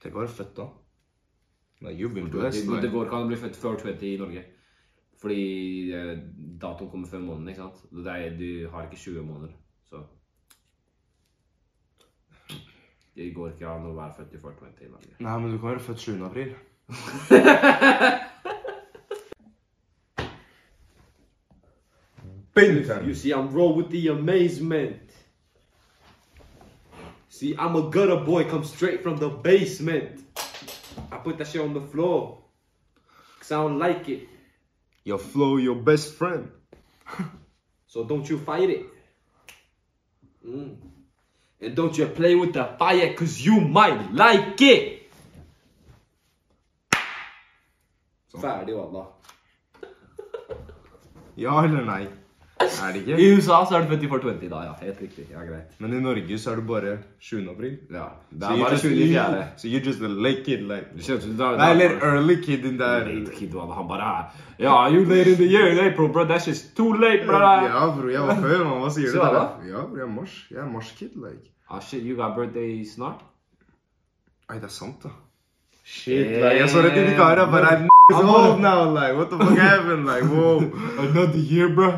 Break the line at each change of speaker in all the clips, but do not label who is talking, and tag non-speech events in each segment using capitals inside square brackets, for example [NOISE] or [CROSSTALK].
Tenk å være født da. Nei, you've been
Det,
blessed.
det
Like.
går ikke an å bli født før 20 i Norge. Fordi eh, datoen kommer før måneden, ikke sant? Det er, du har ikke 20 måneder, så Det går ikke an å være født i 420 i Norge.
Nei, men du kan være født 7. [LAUGHS] april.
You see, I'm raw with the amazement. See, I'm a gutter boy, come straight from the basement. I put that shit on the floor. Cause I don't like it.
Your flow, your best friend.
So don't you fight it. Mm. And don't you play with the fire, cause you might like it. Ferdig, wallah.
Ja eller nei? Er det ikke?
I USA så er det 24-20 da, ja. Helt riktig. Ja, greit.
Men i Norge så er det bare 7. april.
Ja. Det
So
er
you're
bare
just-
24.
So you're just a late kid, like.
Det er kjennes ut som
Nei, eller early kid in der.
Kid, wallah. er han bare Ja, you late in the year in April, bro. That shit's too late, bro.
Ja, bror, jeg var før, mamma sier
Så
det
hva
der.
da?
Ja, bror, jeg er mars. Jeg er mars-kid, like.
Ah, shit, you got birthday snart?
Nei, det er sant, da. Shit, like, jeg så rett i de kara, but I'm
I'm
old
old.
now, like, what the fuck happened, like, wow.
Another year, bro.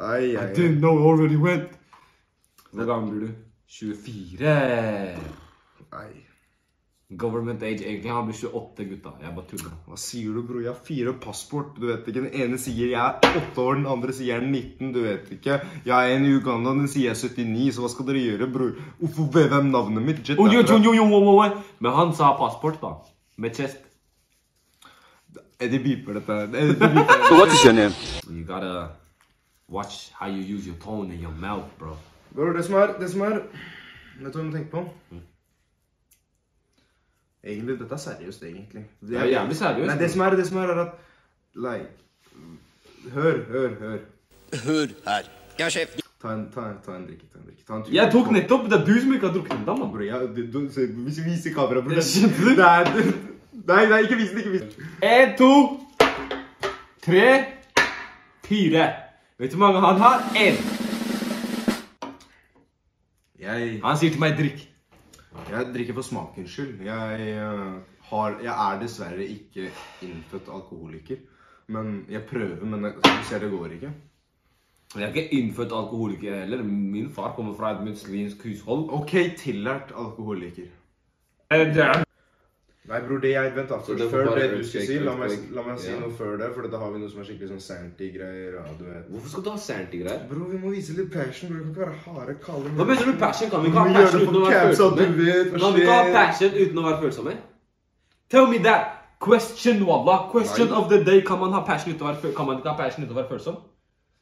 Ai, ai, ai.
know already went. Hvor gammel blir du? 24.
ai.
Government age, egentlig. Han blir 28, gutta. Jeg bare tuller.
Hva sier du, bror? Jeg har fire passport, du vet ikke. Den ene sier jeg er åtte år, den andre sier jeg er 19, du vet ikke. Jeg er en i Uganda, den sier jeg er 79, så hva skal dere gjøre, bror? Hvorfor vet hvem navnet mitt? Jet
Oh, jo, jo,
derfra.
jo, jo, jo, jo, jo. Men han sa passport, da. Med chest.
Eddie beeper dette. her. Eddie [LAUGHS] beeper dette.
So what is your name?
You gotta watch how you use your tone and your mouth, bro.
Bror, det som er, det som er Vet du hva jeg må tenke på? Egentlig, dette er seriøst, egentlig.
Det er jævlig seriøst.
Nei, det som er, det som er, er at Like Hør, hør, hør.
Hør her. Jeg er sjef.
Ta en, ta, en- ta en drikke, ta en drikke. Ta en tur.
Jeg tok nettopp. Det er du som ikke har drukket ennå, mann.
Bror, jeg du, du, se, Hvis vi viser kameraet, bror
Jeg skjønte det.
Nei, du- Nei, nei, ikke vis den, ikke vis den.
En, to, tre, fire. Vet du hvor mange han har? Én.
Jeg,
Han sier til meg 'drikk'.
jeg drikker for smakens skyld. Jeg, eh, har, jeg er dessverre ikke innfødt alkoholiker. Men jeg prøver, men jeg, du ser det går ikke.
Jeg er ikke innfødt alkoholiker heller. Min far kommer fra et muslimsk hushold.
Ok, tillært alkoholiker. Nei, bror, det jeg Vent, da.
Så det
Først,
får
før
bare
det du
earthquake,
skal si, la meg,
earthquake.
la meg si
Ja.
noe før det. For da har vi noe som er skikkelig sånn santy-greier. Ja, du vet.
Hvorfor skal du ha santy-greier?
Bro, vi må vise litt passion. Bro. Du kan ikke være harde, kalde
Da begynner du passion. Kan vi ikke
Vi
ha
gjør
passion
det
uten å
for caps,
være
at du
følsomme?
vet hva
Kan vi ikke ha
skjer.
passion uten å være følsomme? Tell me that! Question, wallah. Question
Nei.
of the day. Kan man ha passion uten å være, føl- kan man ikke ha passion uten å være følsom?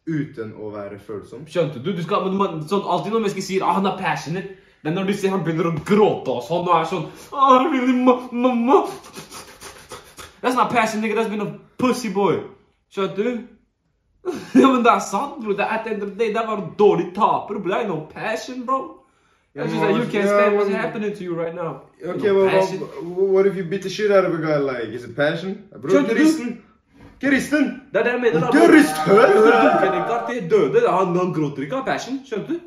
Uten å være følsom.
Skjønte du? du skal, men man, sånn, alltid når mennesker sier ah, 'han er passionate', det er når du ser han begynner å gråte og sånn og er sånn ah, really, ma mamma? sånn, That's not passion, nigga. That's been a pussy boy. Skjønte du? [LAUGHS] ja, men det er sant, bro. Det er, at the end of the day, det er bare en dårlig taper. bro. Det er no passion, bro. That's just that you can't stand what's happening to you right now.
Okay,
no
well,
passion.
well, what if you beat the shit out of a guy like Is it passion? Bro,
Skjønte du?
Kristen! Kristen!
Det er det jeg mener. da.
Det er rist, hø?
Du dunker den ikke at de døde. Han, han gråter ikke av passion. Skjønte du?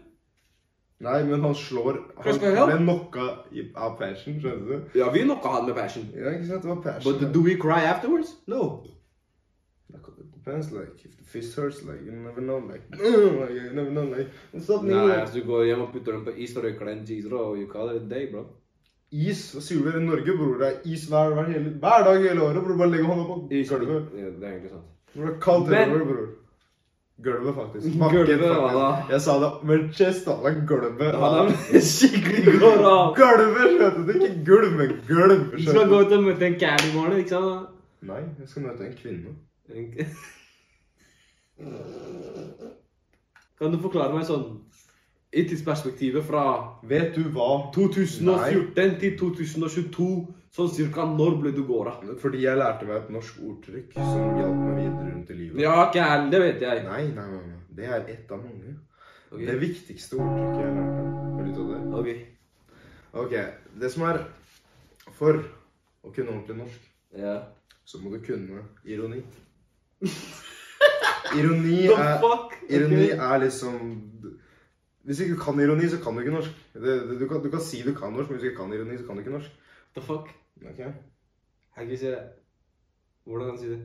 Nei, men han slår Han
Skal jeg help?
ble knocka i- av passion, skjønner du?
Ja, vi knocka han med passion.
Ja, ikke sant? Det var passion.
But do we cry afterwards? No.
Like, it depends, like, if the fist hurts, like, you never know, like, [LAUGHS] like, you never know, like, what's up, nigga?
Nei, altså du går hjem og putter den på is og røyker deg en cheeser og you call it a day, bro.
Is, hva sier du dere i Norge, bror? Det er is hver, hver, hele, hver dag hele året, bror. Bare legge hånda på
Is, ja,
gulvet.
det er egentlig sant.
Bror, det er kaldt
Men-
hele året, bror. Gulvet, faktisk.
Gulvet,
Bakken,
hva da?
faktisk. Jeg sa det med chest, da. Det er gulvet.
Han
[LAUGHS]
er skikkelig går av.
Gulvet, skjønte du? Ikke gulv, men gulv.
Du skal gå
Skjønte du?
ut og møte en cab i morgen, ikke [LAUGHS] sant?
Nei, jeg skal møte en kvinne.
En- Kan du forklare meg sånn i tidsperspektivet fra
Vet du hva?
2014 til 2022, sånn cirka når ble du gåra?
Fordi jeg lærte meg et norsk ordtrykk som hjalp meg videre rundt i livet.
Ja, ikke heller, det vet jeg.
Nei, nei, nei, nei. Det er ett av mange.
Ok.
Det viktigste ordtrykket jeg lærte. Hør litt av det.
Ok.
Ok, det som er For å kunne ordentlig norsk,
Ja.
så må du kunne ironi.
[LAUGHS]
Ironi
The
er,
fuck?
ironi
Ok.
er liksom Hvis ikke du kan ironi, så kan du ikke norsk. Det, det, du, kan, du kan si du kan norsk, men hvis du ikke kan ironi, så kan du ikke norsk.
The fuck?
Ok.
Kan ikke si det. Hvordan kan han si det?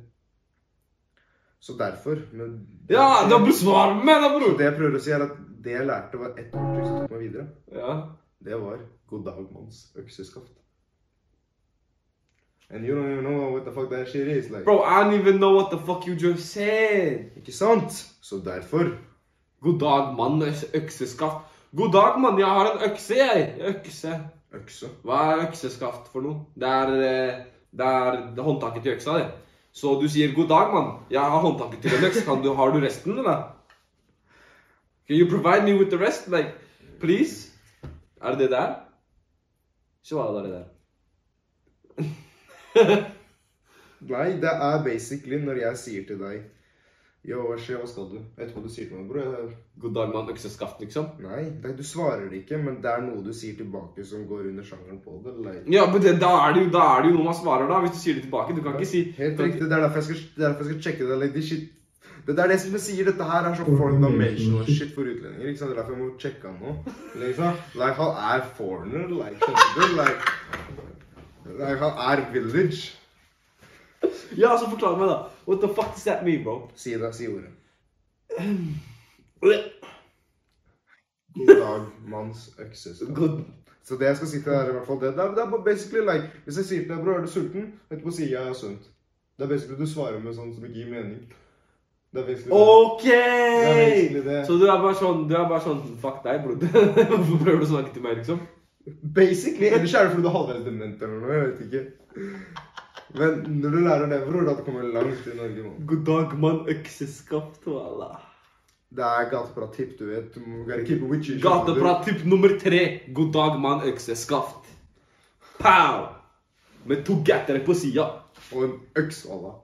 Så derfor men
Ja, da besvarer meg, da,
Så
bror!
det jeg prøver å si, er at det jeg lærte, var ett ord som tok meg videre.
Ja.
Det var 'God dag, manns økseskaft'. And you don't even know what the fuck that shit is. Like.
Bro, I don't even know what the fuck you just said.
Ikke sant? Så derfor
God dag, mann med økseskaft. God dag, mann. Jeg har en økse, jeg. Økse.
økse.
Hva er økseskaft for noe? Det er, eh, det er håndtaket til øksa, det. Så du sier 'god dag, mann'. Jeg har håndtaket til en øks. Kan du, har du resten, eller? Can you provide me with the rest? Like, please? Er det det der? Ikke hva det er det der.
Nei, det er basically når jeg sier til deg Yo, hva skjer, hva skal du? Jeg tror du sier til meg, bror. jeg-
God dag, mann. Økseskaft, liksom.
Nei, det, du svarer det ikke, men det er noe du sier tilbake som går under sjangeren på det. Like.
Ja, men det, da, er det jo, da er det jo noe man svarer, da. Hvis du sier det tilbake. Du kan ikke si
Helt
kan ikke-
riktig. Det er derfor jeg skal, det er derfor jeg skal sjekke det. Like, de shit. Det er det som jeg sier, dette her er sånn fundamental shit for utlendinger. ikke sant? Det er derfor jeg må sjekke han nå. Liksom. Like, han er foreigner, like, skjønner du? Like, like, han er village.
Ja, så forklar meg, da. What the fuck does that mean, bro?
Si det, si ordet.
God
God dag, manns øksestad. Så det jeg skal si til dere, i hvert fall, det, det, er, det er bare basically like Hvis jeg sier til deg, bror, er du sulten? Etterpå sier jeg jeg er sunt. Det er basically du svarer med sånn som ikke gir mening. Det er basically det.
OK!
basically det.
Så du er bare sånn, du er bare sånn Fuck deg, bror. [LAUGHS] Hvorfor prøver du å snakke til meg, liksom?
Basically, Ellers er det fordi du er halvveis dement eller noe. Jeg vet ikke. Men når du lærer det, bror, da kommer du langt i Norge. mann.
God dag, mann. Økseskaft, walla.
Det er gateprat hipp, du vet. Du må gotta keep it with you, skjønner du.
Gateprat typ nummer tre. God dag, mann. Økseskaft. Pow! Med to gattere på sida.
Og en øks, Allah.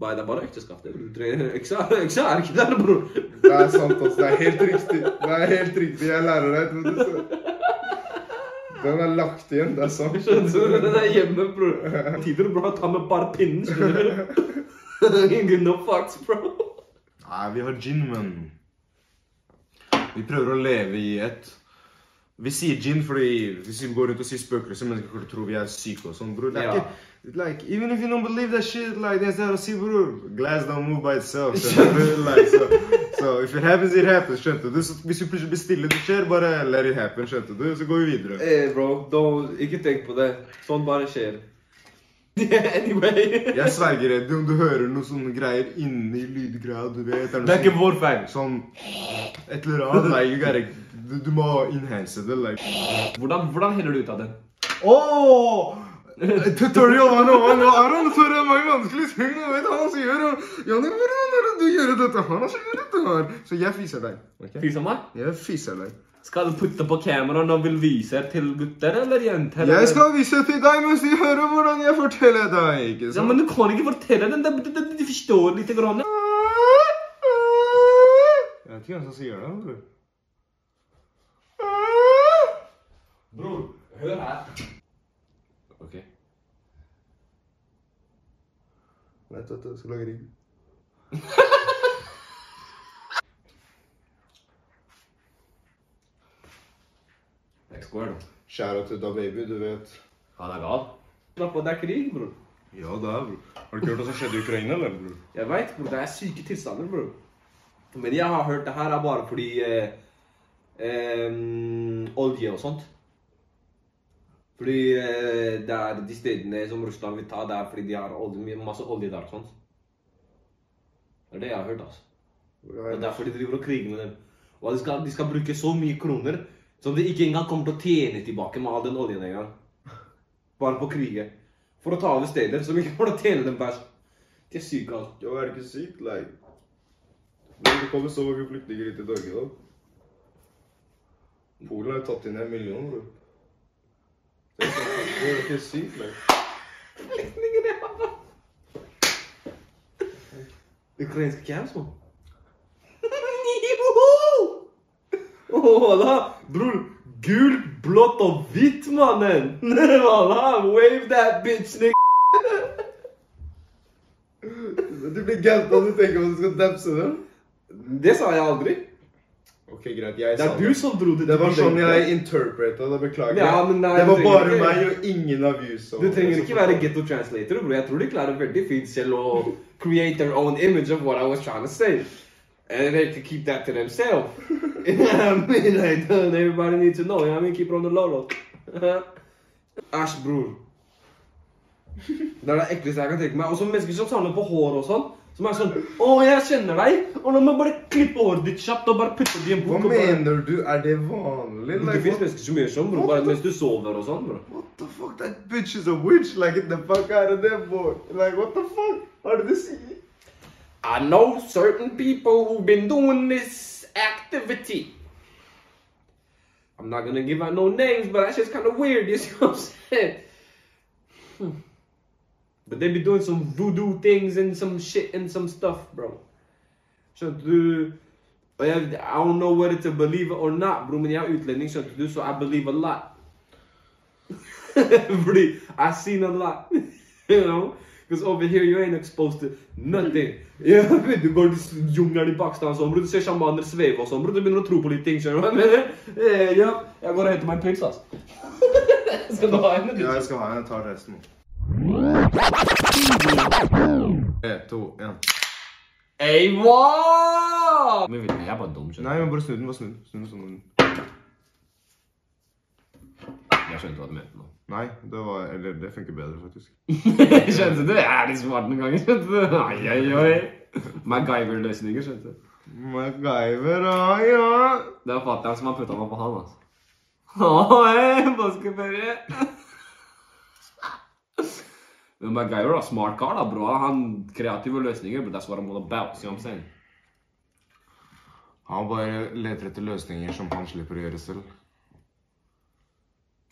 Nei, det er bare økseskaft. det, bror. Du trenger- Øksa, øksa er ikke der, bror.
Det er sant, altså. Det er helt riktig. Det er helt riktig. Jeg lærer deg. vet du, så- Den er lagt igjen. Det er sant.
Skjønner du? Den er hjemme, bror. Tider, bror. Ta med bare pinnen, skjønner du. Ingen no fucks, bro.
Nei, vi har gin, men Vi prøver å leve i et Vi sier gin fordi hvis vi går rundt og sier spøkelser, mennesker kommer til å tro vi er syke og sånn, bror. Det er
Ja.
ikke Like, even if you don't believe that shit, like, det eneste jeg har å si, bror Glass don't move by itself. skjønner du?
[LAUGHS]
Like, so, so if it happens, it happens, skjønte du? Så hvis vi plutselig blir stille, det skjer, bare let it happen, skjønte du? Så går vi videre.
Eh, bro, don't, ikke tenk på det. Sånn bare skjer. [LAUGHS] anyway.
Jeg sverger, Eddie, om du hører noe sånne greier inni lydgreia, du vet er noe
Det er
sånn-
ikke vår feil.
Sånn Et eller
[LAUGHS]
annet. Like, you gotta, du, du må enhance det. Like.
Hvordan, hvordan heller du ut av den?
Oh! Tutorial 101. Hva er han for meg vanskelig ting? Jeg vet han som gjør det. Janne, hvordan er det du gjør dette her? Han gjør dette her. Så jeg fiser deg. ok?
Fys av meg?
Jeg fiser deg.
Skal du putte på kamera når du vil vise her til gutter eller jenter? eller?
Jeg skal vise til deg mens de hører hvordan jeg forteller deg. ikke
Ja,
sant?
men du kan ikke fortelle den. De, de, de forstår lite grann.
Jeg vet ikke hvem som sier det. Bror.
Bror, hør her. Ok.
Vet du at jeg skal lage rim?
X-square, da.
Skjæra til da baby, du vet.
Han er gal. Slapp av, det er krig, bror.
Ja, det er bror. Har du ikke hørt hva som skjedde i Ukraina, eller? bror?
Jeg veit, bror. Det er syke tilstander, bror. Men jeg har hørt det her er bare fordi eh, em, Olje og sånt. Fordi eh, det er de stedene som Russland vil ta, det er fordi de har olje, masse olje der og sånt. Det er det jeg har hørt, altså. Og derfor de driver og kriger med dem. Og de skal, de skal bruke så mye kroner som de ikke engang kommer til å tjene tilbake med all den oljen engang. Bare på krigen. For å ta over steder som ikke kommer til å tjene dem bæsj. De er syke, altså.
Ja, er det ikke sykt, like? Når det kommer så mange flyktninger hit til Norge, da? Polen har jo tatt inn en million, bror. Det er ikke- det er ikke sykt, like.
Ukrainske camps, mann. Voilà! Bror, gul, blått og hvitt, mannen! [LAUGHS] Voilà! Wave that bitch, nigga!
Du blir gæren når du tenker på at du skal dapse dem.
Det sa jeg aldri.
Ok, greit, jeg
Det
sa
er du som dro dit.
Det var sånn jeg interpreta det, beklager.
Ja, men nei,
det
du
var bare
trenger ikke-
meg og ingen av you som
Du trenger
som
ikke være
fortalte.
ghetto translator, bro. Jeg tror de klarer veldig fint selv å create their own image of what I was trying to say. And they can keep that to themselves. [LAUGHS] you know what I mean? Like, [LAUGHS] don't everybody needs to know. You know what I mean? Keep it on the low [LAUGHS] low. Æsj, bror. Det er det ekleste jeg kan tenke meg. Og så mennesker som samler på hår og sånn. Som er sånn Å, jeg kjenner deg! Og la meg bare klippe håret ditt kjapt og bare putte det i en
Hva
bok. og bare-
mener du? Er det vanlig?
Det
Like,
fins
what,
mennesker som gjør sånn, bror. Bare mens du sover og sånn, bror.
what the fuck? That bitch is a witch. Like, the fuck out of there, boy. Like, what the fuck? Hva er det du sier?
I know certain people who've been doing this activity. I'm not gonna give out no names, but that's just kind of weird, you see what I'm saying? Hmm. But they be doing some voodoo things and some shit and some stuff, bro. Skjønte du? Og jeg, oh, I don't know whether to believe it or not, bro, men jeg er utlending, skjønte du, så I believe a lot. [LAUGHS] Fordi I seen a lot, [LAUGHS] you know. Because over here you ain't exposed to nothing. [LAUGHS] Ja, men du går til jungelen i Pakistansområdet, du ser sjamaner sveve og sånn, bro. Du begynner å tro på litt ting, skjønner du hva jeg [LAUGHS] mener? Eh, Ja, jeg går og henter meg en pils, [LAUGHS] ass. Skal du ha en? eller?
Ja, jeg skal ha en. Jeg tar resten. En, to, en.
Ey, wow! Men vet du, jeg er bare dum, skjønner
Nei, men bare snu den. Bare snu den. Snu den sånn.
du. Jeg skjønte hva du mente nå.
Nei, det var Eller, det funker bedre, faktisk.
[LAUGHS] skjønte du? Jeg er litt smart noen ganger, skjønte du? Ai, ai, ai. MacGyver-løsninger, skjønte du.
MacGyver, ah, ja.
Det var fatter'n som har putta meg på han, altså. Å, hei, påskeferie! Men MacGyver var smart kar, da, bro. Han kreative løsninger, but that's what I'm all about. See what I'm saying?
Han bare leter etter løsninger som han slipper å gjøre selv.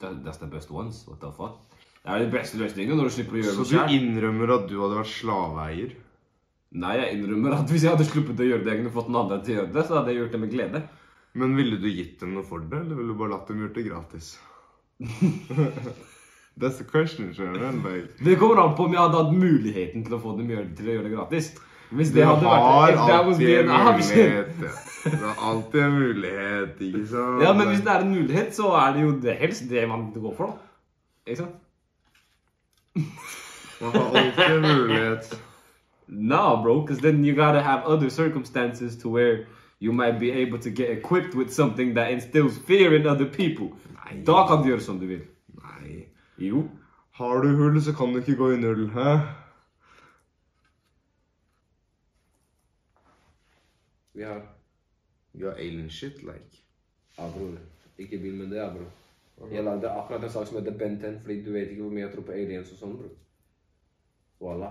That, that's the best ones. What the fuck? Det er de beste løsningene når du slipper å gjøre
Så
noe
du
selv.
innrømmer at du hadde vært slaveeier?
Nei, jeg innrømmer at hvis jeg hadde sluppet å gjøre det, jeg kunne fått noen andre til å gjøre det, så hadde jeg gjort det med glede.
Men ville du gitt dem noe for det, eller ville du bare latt dem gjort det [LAUGHS] gratis? That's the question, skjønner du? Like,
Det kommer an på om jeg hadde hatt muligheten til å få dem gjøre, til å gjøre det gratis. Hvis
du
det hadde
har
vært if that was
alltid
being
en
an option.
mulighet. ja. Du har alltid en mulighet, ikke sant?
Ja, men hvis det er en mulighet, så er det jo det helst det man går for, da. Ikke sant?
Man har alltid en mulighet.
No, bro, because then you gotta have other circumstances to where you might be able to get equipped with something that instills fear in other people. Da kan du gjøre som du vil.
Nei.
Jo.
Har du hull, så kan du ikke gå i null, hæ?
Vi har
You are alien shit, like.
Ja, bror. Ikke begynn med det, ja, bror. Jeg lagde akkurat en sak som heter Ben 10, fordi du vet ikke hvor mye jeg tror på aliens og sånn, bror. Voilà.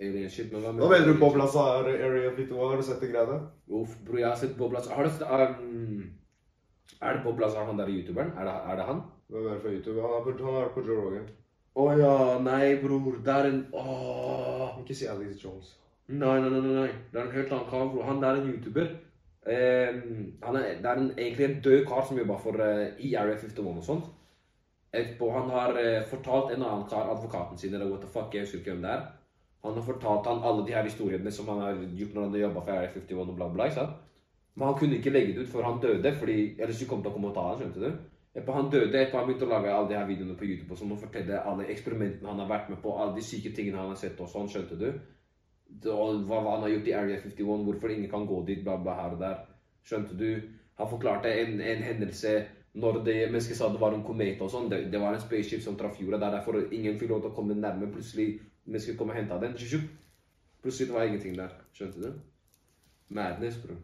Alien shit, men hva
Nå mener du bobla er Area 52, har du sett det greia der?
Uff, bror, jeg har sett Bob Lazar. Har du sett um, Er det Bob Lazar, han der youtuberen? Er det, er det han?
Hvem er det fra YouTube? Han er på, han er på Joe Rogan.
Å ja, nei, bror. Det er en Åh.
Ikke si Alex Jones.
Nei, nei, nei, nei, nei. Det er en helt annen kar, bror. Han der er en youtuber. Ehm, han er, det er en, egentlig en død kar som jobber for eh, i Area 51 og sånt. Etterpå han har eh, fortalt en annen kar, advokaten sin, eller what the fuck, jeg husker ikke hvem det er. Han har fortalt han alle de her historiene som han har gjort når han har jobbet for Area 51 og bla bla, ikke sant? Men han kunne ikke legge det ut før han døde, fordi ellers de kom til å komme og ta han, skjønte du? Etterpå han døde, etterpå han begynte å lage alle de her videoene på YouTube og sånn, og fortelle alle eksperimentene han har vært med på, alle de syke tingene han har sett og sånn, skjønte du? Det- og hva hva han har gjort i Area 51, hvorfor ingen kan gå dit, bla, bla, her og der. Skjønte du? Han forklarte en, en hendelse når det mennesket sa det var en komet og sånn. Det, det var en spaceship som traff jorda. Det er derfor ingen fikk lov til å komme nærme. Plutselig mennesket kom og henta den. Tjup. Plutselig det var ingenting der. Skjønte du? Madness, bro.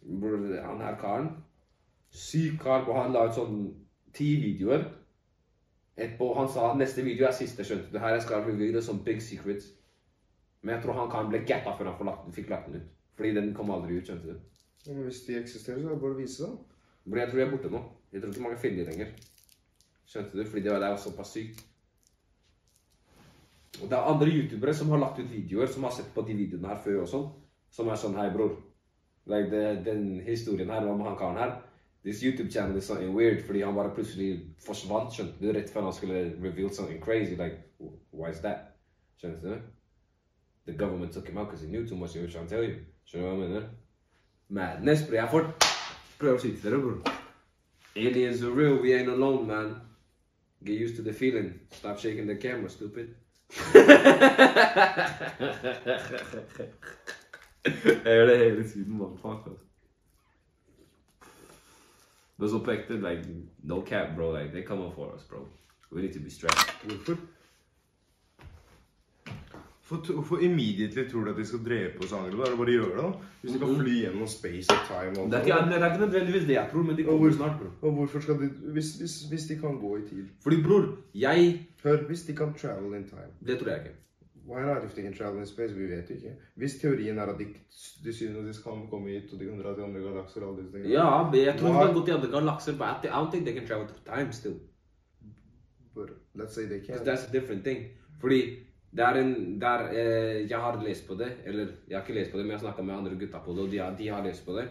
Bro, han her karen Syk kar. Og han la ut sånn ti videoer. Etterpå han sa neste video er siste, skjønte du. Her jeg skal reveal det som big secrets. Men jeg tror han kan bli gatta før han får lagt, fikk lagt den ut. Fordi den kom aldri ut, skjønte du.
Ja, men hvis de eksisterer, så er det bare å vise dem.
Fordi jeg tror de er borte nå. Jeg tror ikke mange finner de lenger. Skjønte du? Fordi det var det er såpass sykt. Og det er andre youtubere som har lagt ut videoer, som har sett på de videoene her før og sånn. Som er sånn Hei, bror. Like, det, den historien her, hva med han karen her? This YouTube channel is something weird, fordi han bare plutselig forsvant, skjønte du? Rett før han skulle reveal something crazy. Like, why is that? Skjønte du? The government took him out because he knew too much. He was trying to tell you. Skjønner du hva jeg mener? Madness, bro. Jeg får
Prøv å si til dere, bror.
Aliens are real, we ain't alone, man. Get used to the feeling. Stop shaking the camera, stupid.
Jeg gjør det hele tiden, man. Fuck, ass. But so back then, like, no cap, bro. Like, they coming for us, bro. We need to be strapped.
Hvorfor? Hvorfor, hvorfor immediately tror du at de skal drepe oss andre? Da er det bare å gjøre det. da. Hvis de kan fly gjennom space og time og
Det er ikke, det er ikke nødvendigvis det jeg tror, men de
Og hvor-
kommer snart, bror.
Og hvorfor skal de hvis, hvis, hvis de kan gå i tid
Fordi, bror, jeg
Hør, hvis de kan travel in time
Det tror jeg ikke.
Why not if they can travel in space? Vi vet jo ikke. Hvis teorien er at de, de synes at de kan komme hit, og de kan dra til andre galakser og alle disse tingene
Ja, men jeg tror ikke de
Why-
kan gå til andre galakser, but I don't think they can travel through time still.
But let's say they can.
Because that's a different thing. Fordi det er en der, eh, Jeg har lest på det, eller jeg har ikke lest på det, men jeg har snakka med andre gutta på det, og de har, de har lest på det.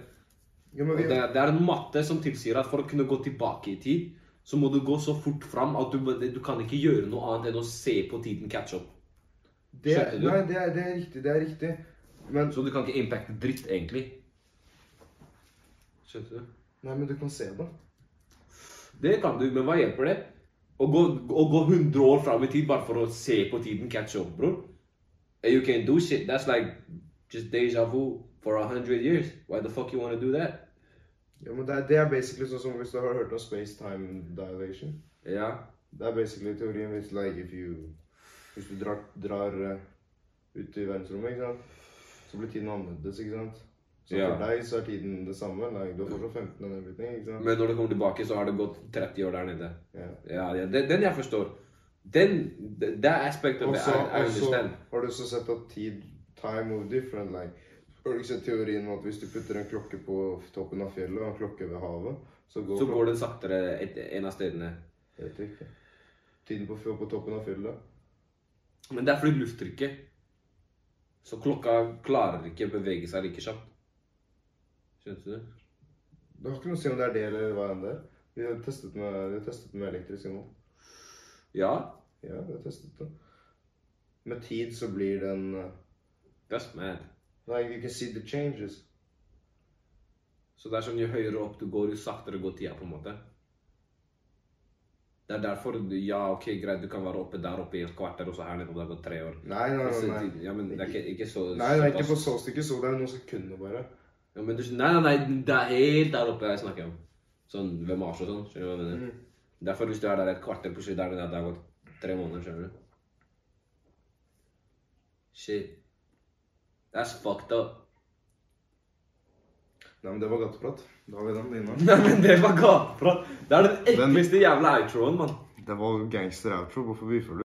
Ja, men
Og
vi,
det, det er en matte som tilsier at for å kunne gå tilbake i tid, så må du gå så fort fram at du, bare- du kan ikke gjøre noe annet enn å se på tiden catch up.
det,
skjønte du?
nei, det er, det er riktig. Det er riktig. Men,
Så du kan ikke impacte dritt, egentlig. Skjønte du?
nei, men du kan se det.
Det kan du, men hva hjelper det? Å gå, å gå 100 år fram i tid bare for å se på tiden catch up, bror? Eh, You can do shit. That's like just deja vu for 100 years. Why the fuck you wanna do that?
Ja, men det er, det er basically sånn som hvis du har hørt om space-time dilation.
Ja.
Det er basically teorien hvis, like, if you, hvis du drar, drar eh, ut i verdensrommet, ikke sant? så blir tiden annerledes. ikke sant? Så
Ja.
for deg så er tiden det samme. Like, du er fortsatt 15 og everything. ikke sant?
Men når du kommer tilbake, så har det gått 30 år der nede.
Ja.
Ja, ja den, den jeg forstår. Den, det det aspektet
Og
det
så
er, I
og så
understand.
har du også sett at tid Time move different. Like. Har du ikke sett teorien om at hvis du putter en klokke på toppen av fjellet og en klokke ved havet, så går,
Så går den saktere et, en av stedene.
klok- Vet ikke. Tiden på, på toppen av fjellet
Men det er fordi lufttrykket. Så klokka klarer ikke å bevege seg like kjapt. Skjønte du?
Det har ikke noe å si om det er det eller hva enn det er. Vi har testet med, vi har testet med elektriske nå.
Ja.
Ja, vi har testet det. Med tid så blir den uh,
That's mad.
Like you can see the changes.
Så det er sånn jo høyere opp du går, jo saktere går tida, på en måte. Det er derfor du, Ja, ok, greit, du kan være oppe der oppe i et kvarter, og så her nede, og det har gått tre år.
Nei, nei,
Så,
nei. nei.
ja, men det er ikke, ikke så
Nei, det er ikke på så stykke, så det er noen sekunder bare.
ja, men du, Nei, nei, nei, det er helt der oppe jeg snakker om. Sånn ved Mars og sånn. Skjønner du hva jeg mener?
Mm.
Derfor hvis du er der et kvarter, plutselig der det er det har gått tre måneder, skjønner du? Shit. That's fucked up.
Nei, men det var gatteprat. Da har vi den inne.
Nei, men det var gateprat! Det er den ekleste jævla outroen, mann.
Det var gangster-outro. Hvorfor biffer du?